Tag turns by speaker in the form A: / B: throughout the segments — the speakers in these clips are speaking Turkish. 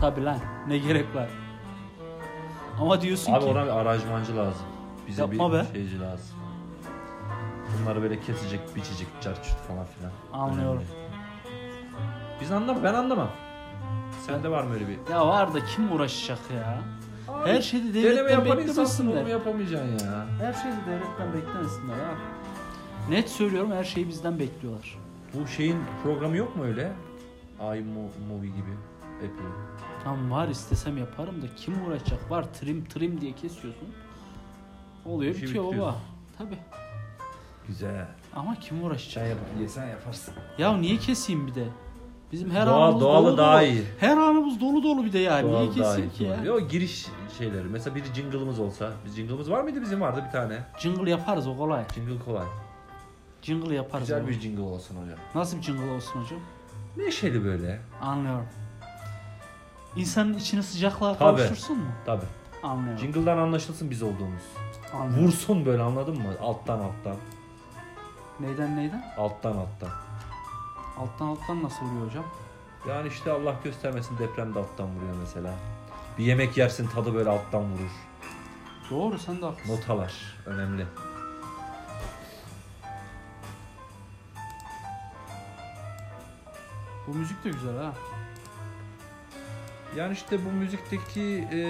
A: Tabi lan ne gerek var. Ama diyorsun
B: Abi
A: ki
B: ona bir aranjmancı lazım. Bize
A: Yapma
B: bir
A: be.
B: şeyci lazım. Bunları böyle kesecek, biçecek, çarçurt falan filan.
A: Anlıyorum.
B: Önemli. Biz anlam, ben anlamam. Sende var mı öyle bir?
A: ya var da kim uğraşacak ya? Her şeyi
B: Deneme
A: devletten
B: yapan insansın
A: beklemesinler.
B: onu yapamayacaksın ya.
A: Her şeyi devletten beklemesinler abi. Net söylüyorum her şeyi bizden bekliyorlar.
B: Bu şeyin programı yok mu öyle? iMovie gibi. Apple'ın.
A: Tam var istesem yaparım da kim uğraşacak? Var trim trim diye kesiyorsun. Oluyor
B: İşi
A: bitiyor baba.
B: bitiriyorsun.
A: Tabi.
B: Güzel.
A: Ama kim uğraşacak?
B: Sen yap, sen yaparsın.
A: Ya niye keseyim bir de? Bizim her
B: Doğal-
A: anımız
B: doğalı
A: dolu
B: daha
A: dolu.
B: iyi.
A: Her anımız dolu dolu bir de yani. niye
B: Doğal daha
A: keseyim
B: iyi
A: ki ya?
B: kullanıyor. Yok giriş şeyleri. Mesela bir jingle'ımız olsa. Biz jingle'ımız var mıydı? Bizim vardı bir tane.
A: Jingle yaparız o kolay.
B: Jingle kolay.
A: Jingle yaparız.
B: Güzel
A: onu.
B: bir jingle olsun hocam.
A: Nasıl bir jingle olsun hocam?
B: Neşeli böyle.
A: Anlıyorum. İnsanın içini sıcaklığa
B: Tabii.
A: kavuştursun mu?
B: Tabii.
A: Anlıyorum.
B: Jingle'dan anlaşılsın biz olduğumuz.
A: Anlıyorum.
B: Vursun böyle anladın mı? Alttan alttan.
A: Neyden neyden?
B: Alttan alttan.
A: Alttan alttan nasıl vuruyor hocam?
B: Yani işte Allah göstermesin depremde alttan vuruyor mesela. Bir yemek yersin tadı böyle alttan vurur.
A: Doğru sen de haklısın.
B: Notalar önemli.
A: Bu müzik de güzel ha.
B: Yani işte bu müzikteki e,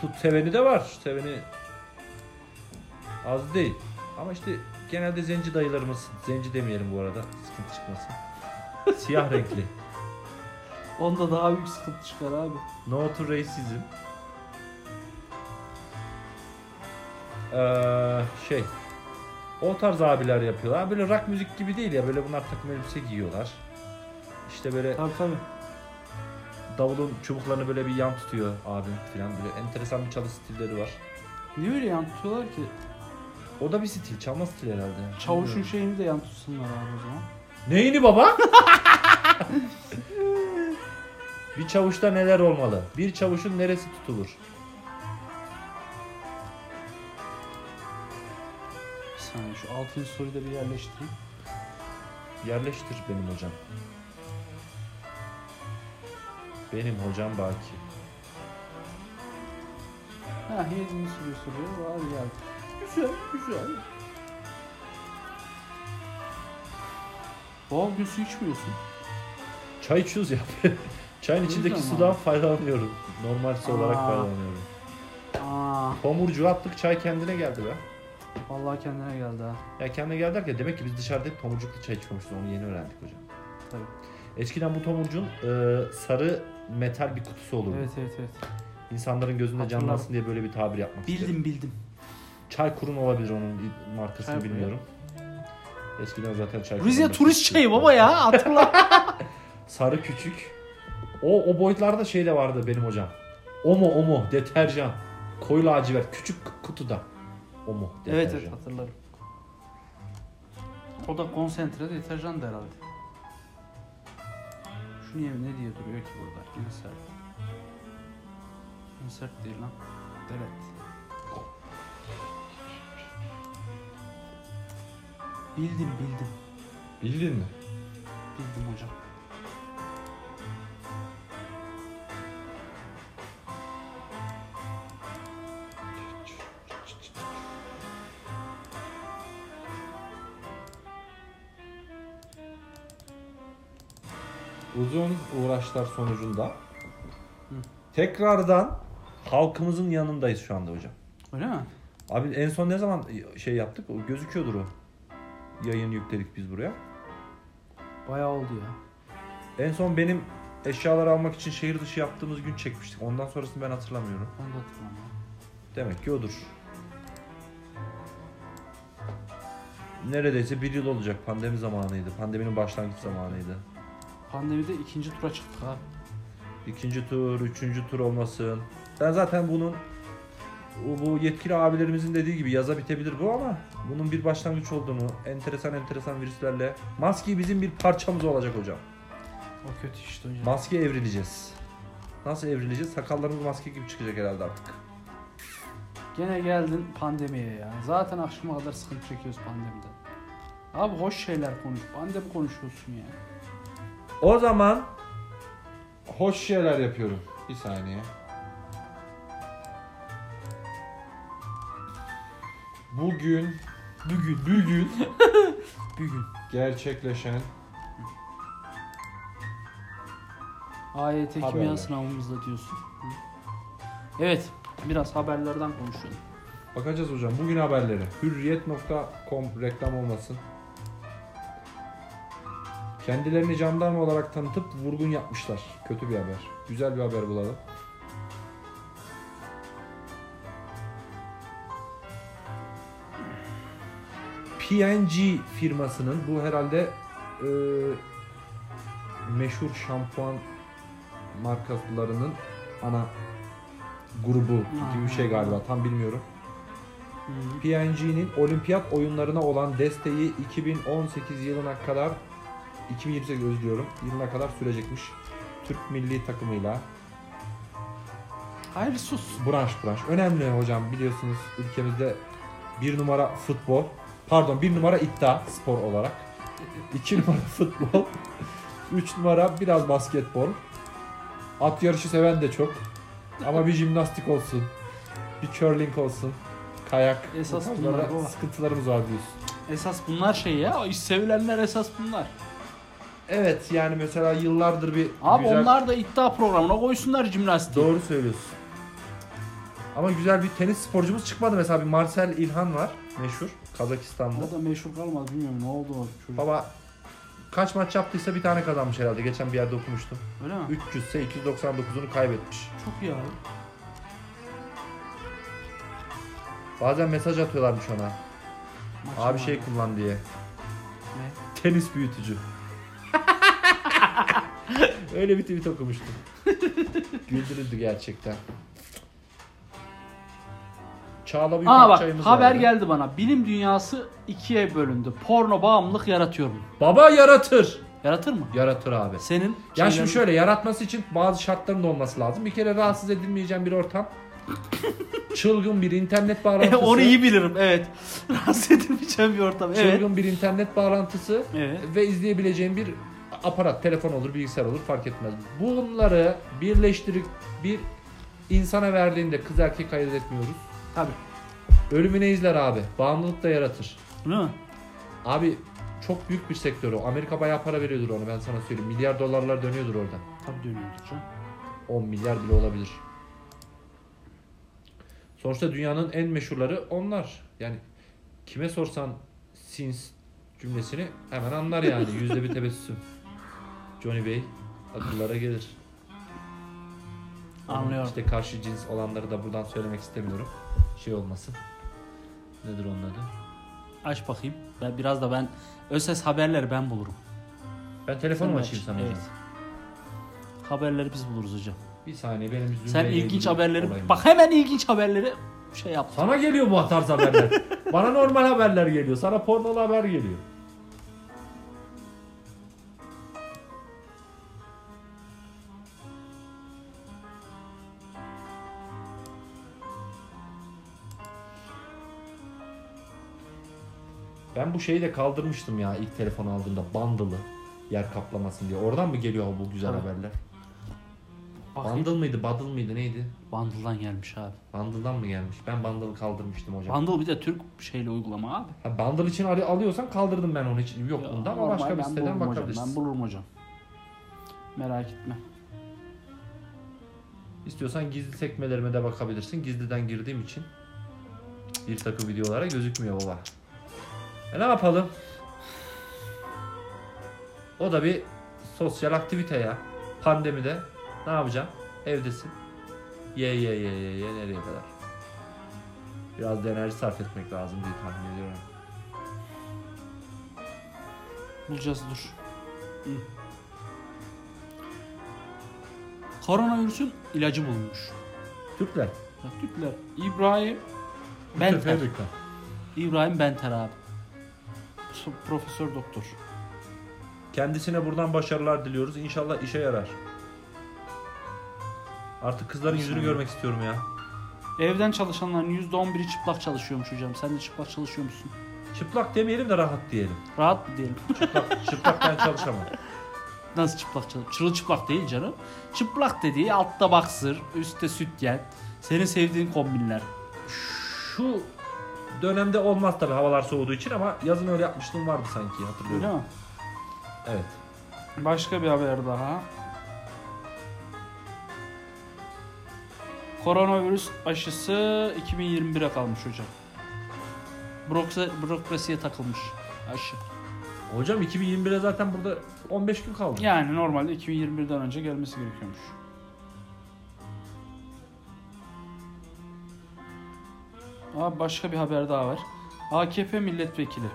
B: tut seveni de var. Seveni az değil. Ama işte genelde zenci dayılarımız, zenci demeyelim bu arada sıkıntı çıkmasın. Siyah renkli.
A: Onda daha büyük sıkıntı çıkar abi.
B: No to racism. Ee, şey. O tarz abiler yapıyorlar. Böyle rock müzik gibi değil ya. Böyle bunlar takım elbise giyiyorlar. İşte böyle
A: Tabii tabii.
B: davulun çubuklarını böyle bir yan tutuyor abim falan. Böyle enteresan bir çalı stilleri var.
A: Niye öyle yan tutuyorlar ki?
B: O da bir stil. Çalma stili herhalde.
A: Çavuşun
B: Bilmiyorum.
A: şeyini de yan tutsunlar abi o zaman.
B: Neyini baba? bir çavuşta neler olmalı? Bir çavuşun neresi tutulur?
A: Bir saniye şu altıncı soruyu da bir yerleştireyim.
B: Yerleştir benim hocam. Benim hocam Baki.
A: Ha yedinci soruyu soruyor. Abi geldi. Güzel güzel. Doğal gün su içmiyorsun.
B: Çay içiyoruz ya. Çayın
A: Tabii
B: içindeki
A: canım
B: sudan
A: abi.
B: faydalanıyorum. Normal su olarak
A: Aa.
B: faydalanıyorum.
A: Aa,
B: Tomurcuğu attık çay kendine geldi be.
A: vallahi kendine geldi ha.
B: Ya kendine geldi derken demek ki biz dışarıda hep tomurcuklu çay içmemişiz. Onu yeni öğrendik hocam.
A: Tabii.
B: Eskiden bu tomurcuğun e, sarı metal bir kutusu olurdu.
A: Evet evet evet.
B: İnsanların gözünde
A: Hatırladım.
B: canlansın diye böyle bir tabir yapmak istedim.
A: Bildim bildim.
B: Çay kurun olabilir onun markasını
A: Çay Kurun.
B: bilmiyorum. Eskiden zaten çay
A: Rize
B: Kurun- şey.
A: turist çayı baba ya hatırla.
B: Sarı küçük. O o boyutlarda şey de vardı benim hocam. Omo omo deterjan. Koyu lacivert küçük k- kutuda. Omo deterjan.
A: evet evet hatırlarım. O da konsantre deterjan da herhalde. Şu niye ne diye duruyor ki burada? Insert. Insert değil lan. Evet. Bildim bildim.
B: Bildin mi?
A: Bildim hocam.
B: Uzun uğraşlar sonucunda
A: Hı.
B: tekrardan halkımızın yanındayız şu anda hocam.
A: Öyle mi?
B: Abi en son ne zaman şey yaptık? O gözüküyordur o. Yayın yükledik biz buraya.
A: Bayağı oldu ya.
B: En son benim eşyalar almak için şehir dışı yaptığımız gün çekmiştik. Ondan sonrasını ben hatırlamıyorum.
A: Onu da hatırlamıyorum.
B: Demek ki odur. Neredeyse bir yıl olacak. Pandemi zamanıydı. Pandeminin başlangıç zamanıydı.
A: Pandemide ikinci tura çıktık ha.
B: İkinci tur, üçüncü tur olmasın. Ben zaten bunun bu- bu yetkili abilerimizin dediği gibi yaza bitebilir bu ama bunun bir başlangıç olduğunu enteresan enteresan virüslerle maske bizim bir parçamız olacak hocam.
A: O kötü işte hocam.
B: Maske evrileceğiz. Nasıl evrileceğiz? Sakallarımız maske gibi çıkacak herhalde artık.
A: Gene geldin pandemiye ya. Zaten akşama kadar sıkıntı çekiyoruz pandemiden. Abi hoş şeyler konuş. Pandemi konuşuyorsun ya.
B: O zaman hoş şeyler yapıyorum. Bir saniye. Bugün
A: Bugün.
B: bugün
A: Bugün.
B: gerçekleşen
A: AYT kimya
B: Haberler.
A: sınavımızda diyorsun. Hı. Evet. Biraz haberlerden konuşalım.
B: bakacağız hocam bugün haberleri. Hürriyet.com reklam olmasın. Kendilerini jandarma olarak tanıtıp vurgun yapmışlar. Kötü bir haber. Güzel bir haber bulalım. PNG firmasının bu herhalde e, meşhur şampuan markalarının ana grubu gibi bir şey galiba tam bilmiyorum.
A: Hı.
B: PNG'nin olimpiyat oyunlarına olan desteği 2018 yılına kadar 2028 özür diliyorum yılına kadar sürecekmiş. Türk milli takımıyla
A: Hayır sus.
B: branş branş. Önemli hocam biliyorsunuz ülkemizde bir numara futbol pardon bir numara iddia spor olarak. iki numara futbol. Üç numara biraz basketbol. At yarışı seven de çok. Ama bir jimnastik olsun. Bir curling olsun. Kayak. Bu
A: Esas
B: tarzlarda
A: bunlar baba.
B: sıkıntılarımız var diyorsun.
A: Esas bunlar şey ya. iş Sevilenler esas bunlar.
B: Evet yani mesela yıllardır bir
A: Abi
B: güzel...
A: onlar da iddia programına koysunlar jimnastiği.
C: Doğru söylüyorsun.
B: Ama güzel bir tenis sporcumuz çıkmadı mesela bir Marcel İlhan var meşhur Kazakistanlı.
A: O da meşhur kalmadı bilmiyorum ne oldu o çocuk.
B: Baba kaç maç yaptıysa bir tane kazanmış herhalde geçen bir yerde okumuştum.
A: Öyle mi?
B: 300 ise 299'unu kaybetmiş.
A: Çok iyi abi.
B: Bazen mesaj atıyorlarmış ona.
A: Maçın
B: Abi şey
A: var.
B: kullan
A: Ne?
B: diye. Tenis büyütücü. Öyle bir tweet okumuştum. Güldürüldü gerçekten. Çağla bir
A: Aa bak
B: çayımız
A: haber
B: vardı.
A: geldi bana. Bilim dünyası ikiye bölündü. Porno bağımlılık yaratıyorum.
B: Baba yaratır.
A: Yaratır mı?
B: Yaratır abi.
A: Senin
B: Ya
A: şeylerin-
B: şimdi şöyle yaratması için bazı şartların da olması lazım. Bir kere rahatsız edilmeyeceğim bir ortam. Çılgın bir internet bağlantısı.
A: E, Onu iyi bilirim evet. Rahatsız edilmeyeceğim bir ortam. Evet.
B: Çılgın bir internet bağlantısı
A: Evet.
B: ve izleyebileceğim bir aparat, telefon olur, bilgisayar olur fark etmez. Bunları birleştirip bir insana verdiğinde kız erkek ayırt etmiyoruz.
A: Tabii.
B: Ölümüne izler abi. Bağımlılık da yaratır.
A: Değil mi?
B: Abi çok büyük bir sektör o. Amerika bayağı para veriyordur ona ben sana söyleyeyim. Milyar dolarlar dönüyordur orada.
A: Tabii dönüyordur canım.
B: 10 milyar bile olabilir. Sonuçta dünyanın en meşhurları onlar. Yani kime sorsan since cümlesini hemen anlar yani. Yüzde bir tebessüm. Johnny Bey akıllara gelir. Onun
A: Anlıyorum.
B: İşte karşı cins olanları da buradan söylemek istemiyorum. Şey olmasın. Nedir onun adı?
A: Aç bakayım. Ben biraz da ben Öses haberleri ben bulurum.
B: Ben telefonumu
A: Sen
B: açayım
A: aç.
B: sana
A: Evet.
B: hocam.
A: Haberleri biz buluruz hocam.
B: Bir saniye benim zümreyle
A: Sen ilginç
B: ilgili
A: haberleri
B: olayım.
A: bak hemen ilginç haberleri şey yap.
B: Sana geliyor bu tarz haberler. Bana normal haberler geliyor. Sana pornolu haber geliyor. Ben bu şeyi de kaldırmıştım ya ilk telefon aldığımda bundle'ı yer kaplamasın diye. Oradan mı geliyor bu güzel
A: Tabii.
B: haberler?
A: Bakayım.
B: Bundle mıydı, bundle mıydı neydi?
A: Bundle'dan gelmiş abi.
B: Bundle'dan mı gelmiş? Ben bundle'ı kaldırmıştım hocam.
A: Bundle bir de Türk şeyle uygulama abi.
B: Ha, bundle için al- alıyorsan kaldırdım ben onu hiç. Yok
A: Ya,
B: bunda ama
A: normal,
B: başka bir
A: ben
B: siteden
A: bulurum hocam,
B: bakabilirsin.
A: Ben bulurum hocam. Merak etme.
B: İstiyorsan gizli sekmelerime de bakabilirsin. Gizliden girdiğim için bir takım videolara gözükmüyor baba. E ne yapalım? O da bir sosyal aktivite ya. Pandemide ne yapacağım? Evdesin. Ye ye ye ye ye nereye kadar? Biraz da enerji sarf etmek lazım diye tahmin ediyorum.
A: Bulacağız dur. Hı. Koronavirüsün ilacı bulunmuş.
B: Türkler.
A: Bak Türkler. İbrahim
B: bu
A: Benter.
B: sefer Türkler.
A: İbrahim Benter abi. So- Profesör doktor.
C: Kendisine buradan başarılar diliyoruz. İnşallah işe yarar. Artık kızların yüzünü
A: İnşallah.
C: görmek istiyorum ya.
A: Evden çalışanların %11'i çıplak çalışıyormuş hocam. Sen de çıplak çalışıyor musun?
C: Çıplak demeyelim de rahat diyelim.
A: Rahat mı diyelim?
C: Çıplak, çıplak ben çalışamam.
D: Nasıl çıplak canım? Çırılçıplak değil canım. Çıplak dediği altta baksır, üstte sütyen. Senin sevdiğin kombinler.
B: Şu dönemde olmaz tabii havalar soğuduğu için ama yazın öyle yapmışlığım vardı sanki hatırlıyorum.
A: Öyle mi?
B: Evet.
A: Başka bir haber daha. Koronavirüs aşısı 2021'e kalmış hocam. Büroksa- bürokrasiye takılmış aşı.
B: Hocam 2021'e zaten burada 15 gün kaldı.
A: Yani normalde 2021'den önce gelmesi gerekiyormuş. Aa, başka bir haber daha var. AKP milletvekili.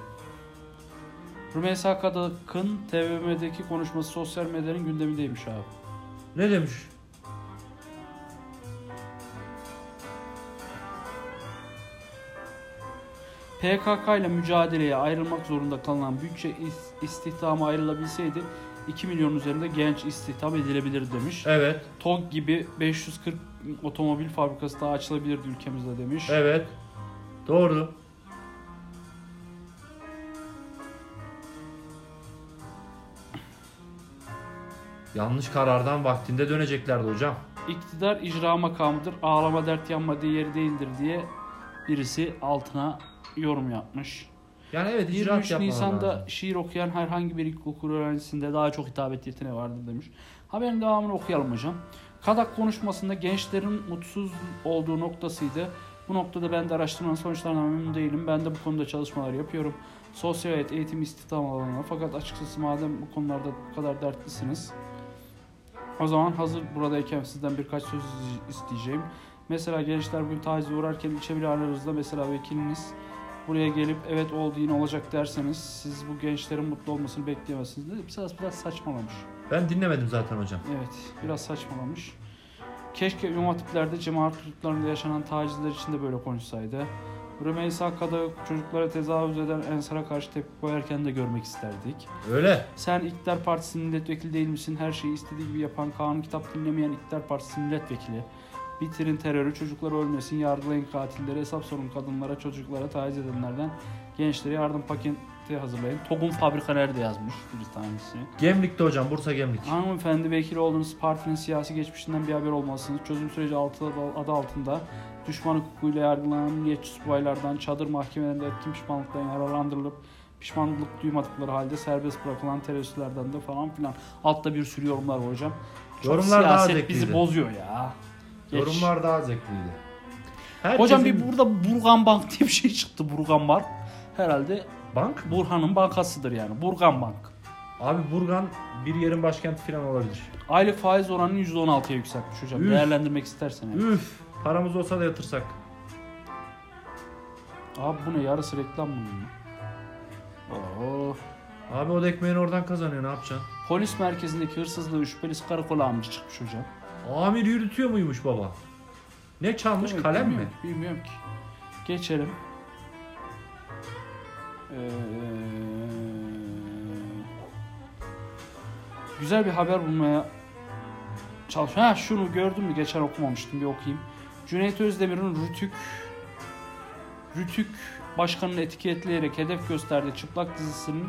A: Rümeysa Kadak'ın TVM'deki konuşması sosyal medyanın gündemindeymiş abi.
B: Ne demiş?
A: PKK ile mücadeleye ayrılmak zorunda kalınan bütçe is- istihdama ayrılabilseydi 2 milyon üzerinde genç istihdam edilebilir demiş.
B: Evet.
A: TOG gibi 540 otomobil fabrikası daha açılabilirdi ülkemizde demiş.
B: Evet. Doğru. Yanlış karardan vaktinde döneceklerdi hocam.
A: İktidar icra makamıdır, ağlama dert yanma diye yeri değildir diye birisi altına yorum yapmış.
B: Yani evet icraat
A: 23
B: yapmaları
A: Nisan'da
B: lazım.
A: şiir okuyan herhangi bir ilkokul öğrencisinde daha çok hitabet yeteneği vardır demiş. Haberin devamını okuyalım hocam. Kadak konuşmasında gençlerin mutsuz olduğu noktasıydı. Bu noktada ben de araştırmanın sonuçlarına memnun değilim. Ben de bu konuda çalışmalar yapıyorum. Sosyal hayat, eğitim, istihdam alanına. Fakat açıkçası madem bu konularda bu kadar dertlisiniz. O zaman hazır buradayken sizden birkaç söz isteyeceğim. Mesela gençler bugün tacize uğrarken ilçe bir aranızda mesela vekiliniz buraya gelip evet oldu yine olacak derseniz siz bu gençlerin mutlu olmasını bekleyemezsiniz dedi. Biraz, biraz saçmalamış.
B: Ben dinlemedim zaten hocam.
A: Evet biraz saçmalamış. Keşke ünvan hatiplerde cemaat gruplarında yaşanan tacizler için de böyle konuşsaydı. Rümeysa Kadak çocuklara tezahüz eden Ensar'a karşı tepki koyarken de görmek isterdik.
B: Öyle.
A: Sen İktidar Partisi milletvekili değil misin? Her şeyi istediği gibi yapan, kanun kitap dinlemeyen İktidar Partisi milletvekili. Bitirin terörü, çocuklar ölmesin, yargılayın katilleri, hesap sorun kadınlara, çocuklara, taciz edenlerden gençlere yardım paketi hazırlayın. TOG'un fabrika nerede yazmış bir tanesi.
B: Gemlik'te hocam Bursa Gemlik.
A: Hanımefendi vekil olduğunuz partinin siyasi geçmişinden bir haber olmalısınız. Çözüm süreci altı, adı altında düşman hukukuyla yargılanan niyetçi subaylardan, çadır mahkemelerinde etkin pişmanlıktan yararlandırılıp pişmanlık duymadıkları halde serbest bırakılan teröristlerden de falan filan. Altta bir sürü yorumlar var hocam. Çok
B: Yorumlar daha
D: Siyaset
B: zevkliydi.
D: bizi bozuyor ya. Geç.
E: Yorumlar daha zevkliydi.
B: Herkesin-
D: Hocam bir burada Burgan Bank diye bir şey çıktı. Burgan Bank. Herhalde
B: bank.
D: Burhan'ın bankasıdır yani. Burgan Bank.
B: Abi Burgan bir yerin başkenti falan olabilir.
A: Aylık faiz oranını %16'ya yükseltmiş hocam.
B: Üf.
A: Değerlendirmek istersen. yani.
B: Üf. Paramız olsa da yatırsak.
A: Abi bu ne yarısı reklam mı? Oh.
B: Abi o da ekmeğini oradan kazanıyor ne yapacaksın?
A: Polis merkezindeki hırsızlığı şüphelisi karakola amca çıkmış hocam.
B: Amir yürütüyor muymuş baba? Ne çalmış
A: Demek
B: kalem mi?
A: bilmiyorum, Bilmiyorum ki. Geçelim. Ee, güzel bir haber bulmaya çalışıyorum. Ha şunu gördüm mü? Geçen okumamıştım. Bir okuyayım. Cüneyt Özdemir'in Rütük Rütük başkanını etiketleyerek hedef gösterdiği çıplak dizisinin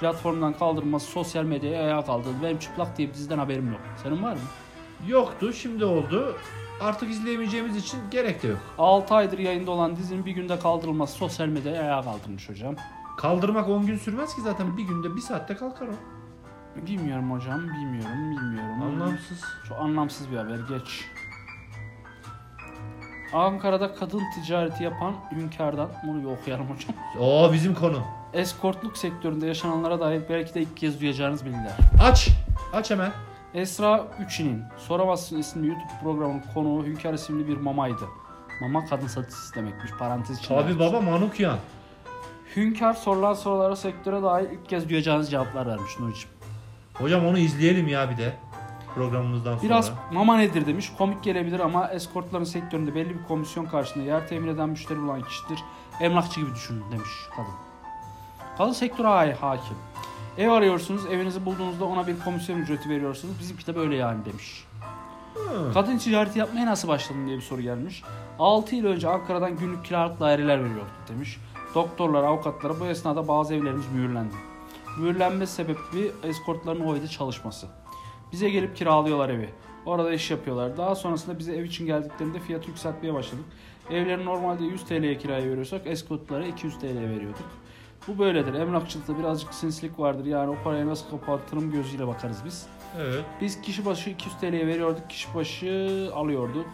A: platformdan kaldırılması sosyal medyaya ayağa kaldırdı. Benim çıplak diye bir diziden haberim yok. Senin var mı?
B: Yoktu şimdi oldu. Artık izleyemeyeceğimiz için gerek de yok.
A: 6 aydır yayında olan dizinin bir günde kaldırılması sosyal medyaya ayağa kaldırmış hocam.
B: Kaldırmak 10 gün sürmez ki zaten bir günde bir saatte kalkar o.
A: Bilmiyorum hocam, bilmiyorum, bilmiyorum.
B: Anlamsız.
A: Çok anlamsız bir haber, geç. Ankara'da kadın ticareti yapan hünkârdan, bunu bir okuyalım hocam.
B: Oo bizim konu.
A: Eskortluk sektöründe yaşananlara dair belki de ilk kez duyacağınız bilgiler.
B: Aç. Aç hemen.
A: Esra Üçin'in Soramazsın isimli YouTube programının konuğu Hünkar isimli bir mamaydı. Mama kadın satıcısı demekmiş parantez içinde.
B: Abi baba Manukyan.
A: Hünkar sorulan sorulara sektöre dair ilk kez duyacağınız cevaplar vermiş Nurcuğum.
B: Hocam onu izleyelim ya bir de. Programımızdan sonra.
A: Biraz mama nedir demiş. Komik gelebilir ama eskortların sektöründe belli bir komisyon karşılığında yer temin eden müşteri bulan kişidir. Emlakçı gibi düşünün demiş kadın. Kadın sektöre hay hakim. Ev arıyorsunuz, evinizi bulduğunuzda ona bir komisyon ücreti veriyorsunuz. Bizimki de böyle yani demiş.
B: Hı.
A: Kadın ticareti yapmaya nasıl başladın diye bir soru gelmiş. 6 yıl önce Ankara'dan günlük kiralık daireler veriyorduk demiş. Doktorlara, avukatlara bu esnada bazı evlerimiz mühürlendi. Mühürlenme sebebi eskortların o evde çalışması. Bize gelip kiralıyorlar evi. Orada iş yapıyorlar. Daha sonrasında bize ev için geldiklerinde fiyatı yükseltmeye başladık. Evleri normalde 100 TL'ye kiraya veriyorsak eskortlara 200 TL veriyorduk. Bu böyledir. Emlakçılıkta birazcık sinsilik vardır. Yani o parayı nasıl kapatırım gözüyle bakarız biz.
B: Evet.
A: Biz kişi başı 200 TL'ye veriyorduk, kişi başı alıyorduk.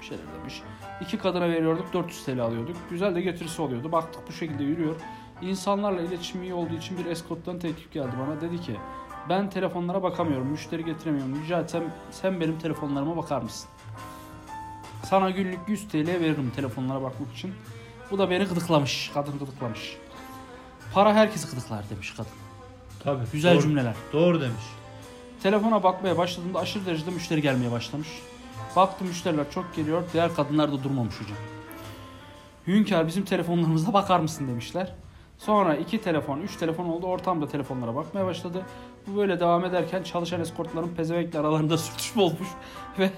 A: Bir şeyler demiş. İki kadına veriyorduk, 400 TL alıyorduk. Güzel de getirisi oluyordu. Baktık bu şekilde yürüyor. İnsanlarla iletişim iyi olduğu için bir eskorttan teklif geldi bana. Dedi ki ben telefonlara bakamıyorum, müşteri getiremiyorum. Rica etsem sen benim telefonlarıma bakar mısın? Sana günlük 100 TL veririm telefonlara bakmak için. Bu da beni gıdıklamış, kadın gıdıklamış. Para herkesi gıdıklar demiş kadın.
B: Tabii.
A: Güzel
B: doğru,
A: cümleler.
B: Doğru demiş.
A: Telefona bakmaya başladığımda aşırı derecede müşteri gelmeye başlamış. Baktım müşteriler çok geliyor. Diğer kadınlar da durmamış hocam. Hünkar bizim telefonlarımıza bakar mısın demişler. Sonra iki telefon, üç telefon oldu. Ortamda telefonlara bakmaya başladı. Bu böyle devam ederken çalışan eskortların pezevenkle aralarında sürtüşme olmuş. Ve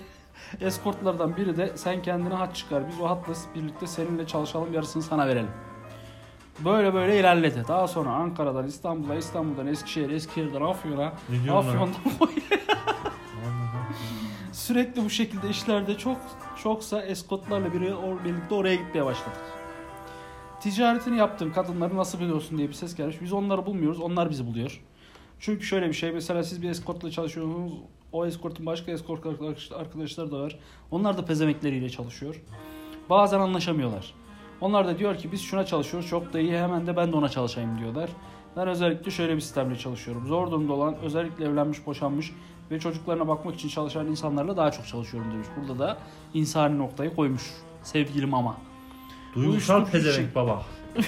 A: eskortlardan biri de sen kendine hat çıkar. Biz o hatla birlikte seninle çalışalım yarısını sana verelim. Böyle böyle ilerledi. Daha sonra Ankara'dan İstanbul'a, İstanbul'dan Eskişehir, Eskişehir'den Afyon'a,
B: Ne diyorsun lan?
A: Afyon'dan Sürekli bu şekilde işlerde çok çoksa eskotlarla biri or, birlikte oraya gitmeye başladık. Ticaretini yaptığım kadınları nasıl biliyorsun diye bir ses gelmiş. Biz onları bulmuyoruz, onlar bizi buluyor. Çünkü şöyle bir şey, mesela siz bir eskortla çalışıyorsunuz, o eskortun başka eskort arkadaş- arkadaşları da var. Onlar da pezemekleriyle çalışıyor. Bazen anlaşamıyorlar. Onlar da diyor ki biz şuna çalışıyoruz, çok da iyi, hemen de ben de ona çalışayım diyorlar. Ben özellikle şöyle bir sistemle çalışıyorum. Zor durumda olan, özellikle evlenmiş, boşanmış ve çocuklarına bakmak için çalışan insanlarla daha çok çalışıyorum demiş. Burada da insani noktayı koymuş sevgilim ama.
B: Duygusal
A: Uyuşturucu
B: pezevenk
A: çek-
B: baba.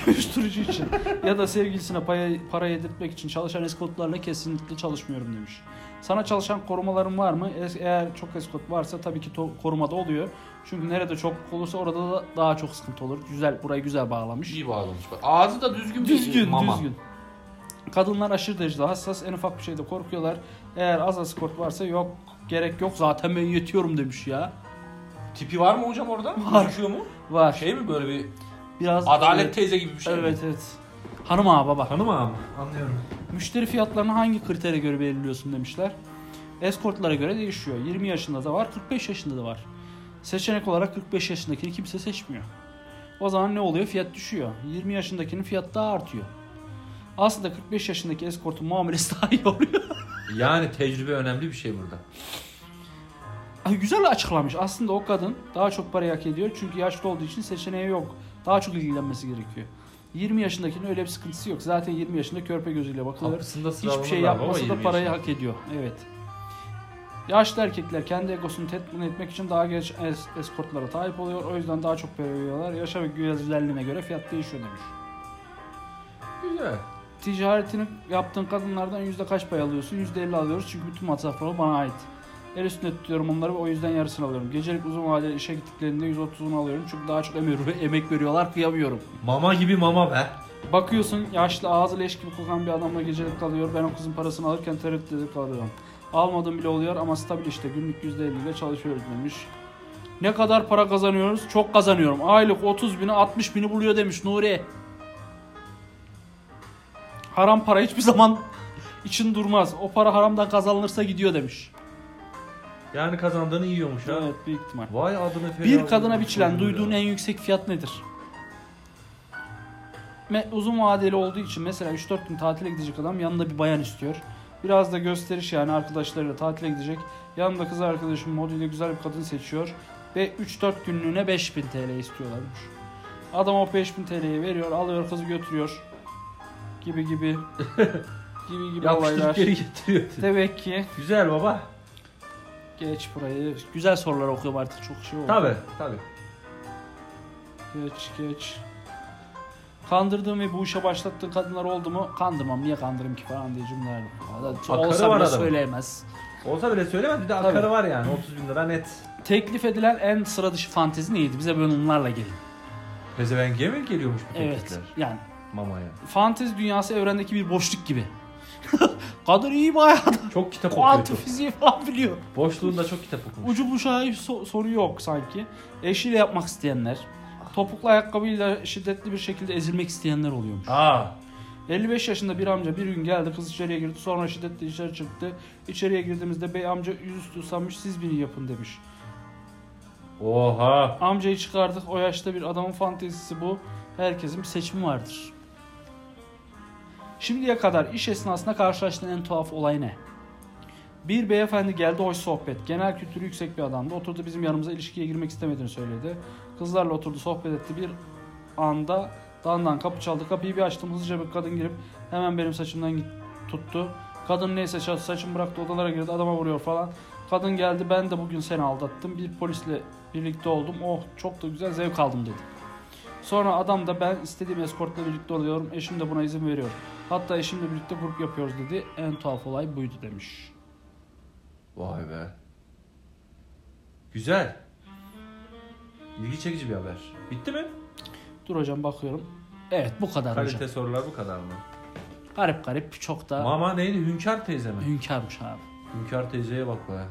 A: Uyuşturucu için ya da sevgilisine para, para yedirtmek için çalışan eskortlarla kesinlikle çalışmıyorum demiş. Sana çalışan korumaların var mı? Es- Eğer çok eskort varsa tabii ki to- korumada oluyor. Çünkü nerede çok olursa orada da daha çok sıkıntı olur. Güzel, burayı güzel bağlamış.
F: İyi bağlamış. Bak, ağzı da düzgün bir
A: Düzgün,
F: mama.
A: düzgün. Kadınlar aşırı derecede hassas. En ufak bir şeyde korkuyorlar. Eğer az escort varsa yok, gerek yok. Zaten ben yetiyorum demiş ya.
F: Tipi var mı hocam orada?
A: Var.
F: Konuşuyor mu?
A: Var.
F: Şey mi böyle bir
A: Biraz
F: adalet
A: Evet,
F: teyze gibi bir şey mi?
A: evet, evet. Hanım ağa baba.
B: Hanım ağam. Anlıyorum.
A: Müşteri fiyatlarını hangi kritere göre belirliyorsun demişler. Eskortlara göre değişiyor. 20 yaşında da var, 45 yaşında da var. Seçenek olarak 45 yaşındakini kimse seçmiyor. O zaman ne oluyor? Fiyat düşüyor. 20 yaşındakinin fiyatı daha artıyor. Aslında 45 yaşındaki eskortun muamelesi daha iyi oluyor.
F: Yani tecrübe önemli bir şey burada.
A: Ay, Güzel açıklamış. Aslında o kadın daha çok parayı hak ediyor. Çünkü yaşlı olduğu için seçeneği yok. Daha çok ilgilenmesi gerekiyor. 20 yaşındakinin öyle bir sıkıntısı yok. Zaten 20 yaşında körpe gözüyle bakılır.
B: Kapısında
A: Hiçbir şey
B: sıralanırlar baba,
A: yapmasa da
B: 20
A: parayı
B: yaşında.
A: hak ediyor. Evet. Yaşlı erkekler kendi egosunu tetmin etmek için daha genç es- eskortlara sahip oluyor. O yüzden daha çok para veriyorlar. Yaşa ve güzelliğine göre fiyat değişiyor demiş.
F: Güzel.
A: Ticaretini yaptığın kadınlardan yüzde kaç pay alıyorsun? Yüzde elli alıyoruz çünkü bütün masrafları bana ait. El üstünde tutuyorum onları ve o yüzden yarısını alıyorum. Gecelik uzun vadeli işe gittiklerinde 130'unu alıyorum çünkü daha çok emek, emek veriyorlar kıyamıyorum.
B: Mama gibi mama be.
A: Bakıyorsun yaşlı ağzı leş gibi kokan bir adamla gecelik kalıyor. Ben o kızın parasını alırken tereddütte kalıyorum. Almadım bile oluyor ama stabil işte günlük %50 ile çalışıyoruz demiş. Ne kadar para kazanıyoruz? Çok kazanıyorum. Aylık 30 bini 60 bini buluyor demiş Nuri. Haram para hiçbir zaman için durmaz. O para haramdan kazanılırsa gidiyor demiş.
B: Yani kazandığını yiyormuş ha.
A: Evet büyük ihtimal.
B: Vay adını fena
A: Bir kadına
B: bulmuş
A: biçilen
B: oğlum
A: duyduğun
B: ya.
A: en yüksek fiyat nedir? Me- uzun vadeli olduğu için mesela 3-4 gün tatile gidecek adam yanında bir bayan istiyor. Biraz da gösteriş yani arkadaşlarıyla tatile gidecek. Yanında kız arkadaşım moduyla güzel bir kadın seçiyor. Ve 3-4 günlüğüne 5000 TL istiyorlarmış. Adam o 5000 TL'yi veriyor, alıyor kızı götürüyor. Gibi gibi. gibi gibi
B: Yapıştırıp
A: olaylar.
B: geri getiriyor.
A: Demek ki
B: Güzel baba.
A: geç burayı. Güzel sorular okuyorum artık çok şey oldu.
B: Tabi tabi.
A: Geç geç. Kandırdığım ve bu işe başlattığın kadınlar oldu mu? Kandırmam niye kandırayım ki falan diye cümleler.
B: Akarı
A: Olsa
B: var
A: bile
B: adamın.
A: söyleyemez.
B: Olsa bile söylemez bir de
A: Tabii.
B: akarı var yani 30 bin lira net.
A: Teklif edilen en sıra dışı fantezi neydi? Bize böyle onlarla gelin.
B: Pezevenge mi geliyormuş bu
A: Evet.
B: teklifler?
A: Yani
B: Mamaya.
A: fantezi dünyası evrendeki bir boşluk gibi. Kadın iyi bayağı da
B: Çok kitap okuyor.
A: kuantum fiziği falan biliyor.
B: Boşluğunda çok kitap okumuş.
A: Ucu bucağı hiç so- soru yok sanki. Eşiyle yapmak
B: Ah.
A: isteyenler. Topuklu ayakkabıyla şiddetli bir şekilde ezilmek isteyenler oluyormuş.
B: Aa.
A: 55 yaşında bir amca bir gün geldi kız içeriye girdi sonra şiddetle dışarı çıktı. İçeriye girdiğimizde bey amca yüzüstü sanmış siz beni yapın demiş.
B: Oha.
A: Amcayı çıkardık o yaşta bir adamın fantezisi bu. Herkesin bir seçimi vardır. Şimdiye kadar iş esnasında karşılaştığın en tuhaf olay ne? Bir beyefendi geldi hoş sohbet. Genel kültürü yüksek bir adamdı. Oturdu bizim yanımıza ilişkiye girmek istemediğini söyledi. Kızlarla oturdu sohbet etti. Bir anda dandan kapı çaldı. Kapıyı bir açtım hızlıca bir kadın girip hemen benim saçımdan git- tuttu. Kadın neyse sa- saçımı bıraktı odalara girdi adama vuruyor falan. Kadın geldi ben de bugün seni aldattım. Bir polisle birlikte oldum. Oh çok da güzel zevk aldım dedi. Sonra adam da ben istediğim eskortla birlikte oluyorum. Eşim de buna izin veriyor. Hatta eşimle birlikte grup yapıyoruz dedi. En tuhaf olay buydu demiş.
F: Vay be. Güzel. İlgi çekici bir haber. Bitti mi?
A: Dur hocam bakıyorum. Evet bu kadar hocam.
F: Kalite sorular bu kadar mı?
A: Garip garip çok da
F: Mama neydi? Hünkar teyze mi?
A: hünkârmış abi.
F: Hünkar teyzeye bak be.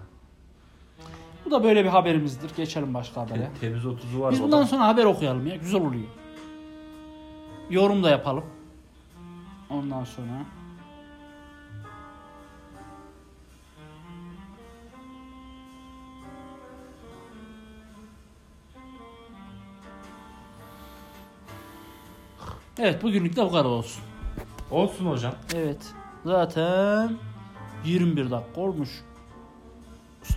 A: Bu da böyle bir haberimizdir. Geçelim başka habere.
F: Te- temiz 30'u var.
A: Biz
F: baba.
A: bundan sonra haber okuyalım ya. Güzel oluyor. Yorum da yapalım. Ondan sonra. Evet bugünlük de bu kadar olsun.
B: Olsun hocam.
A: Evet. Zaten 21 dakika olmuş.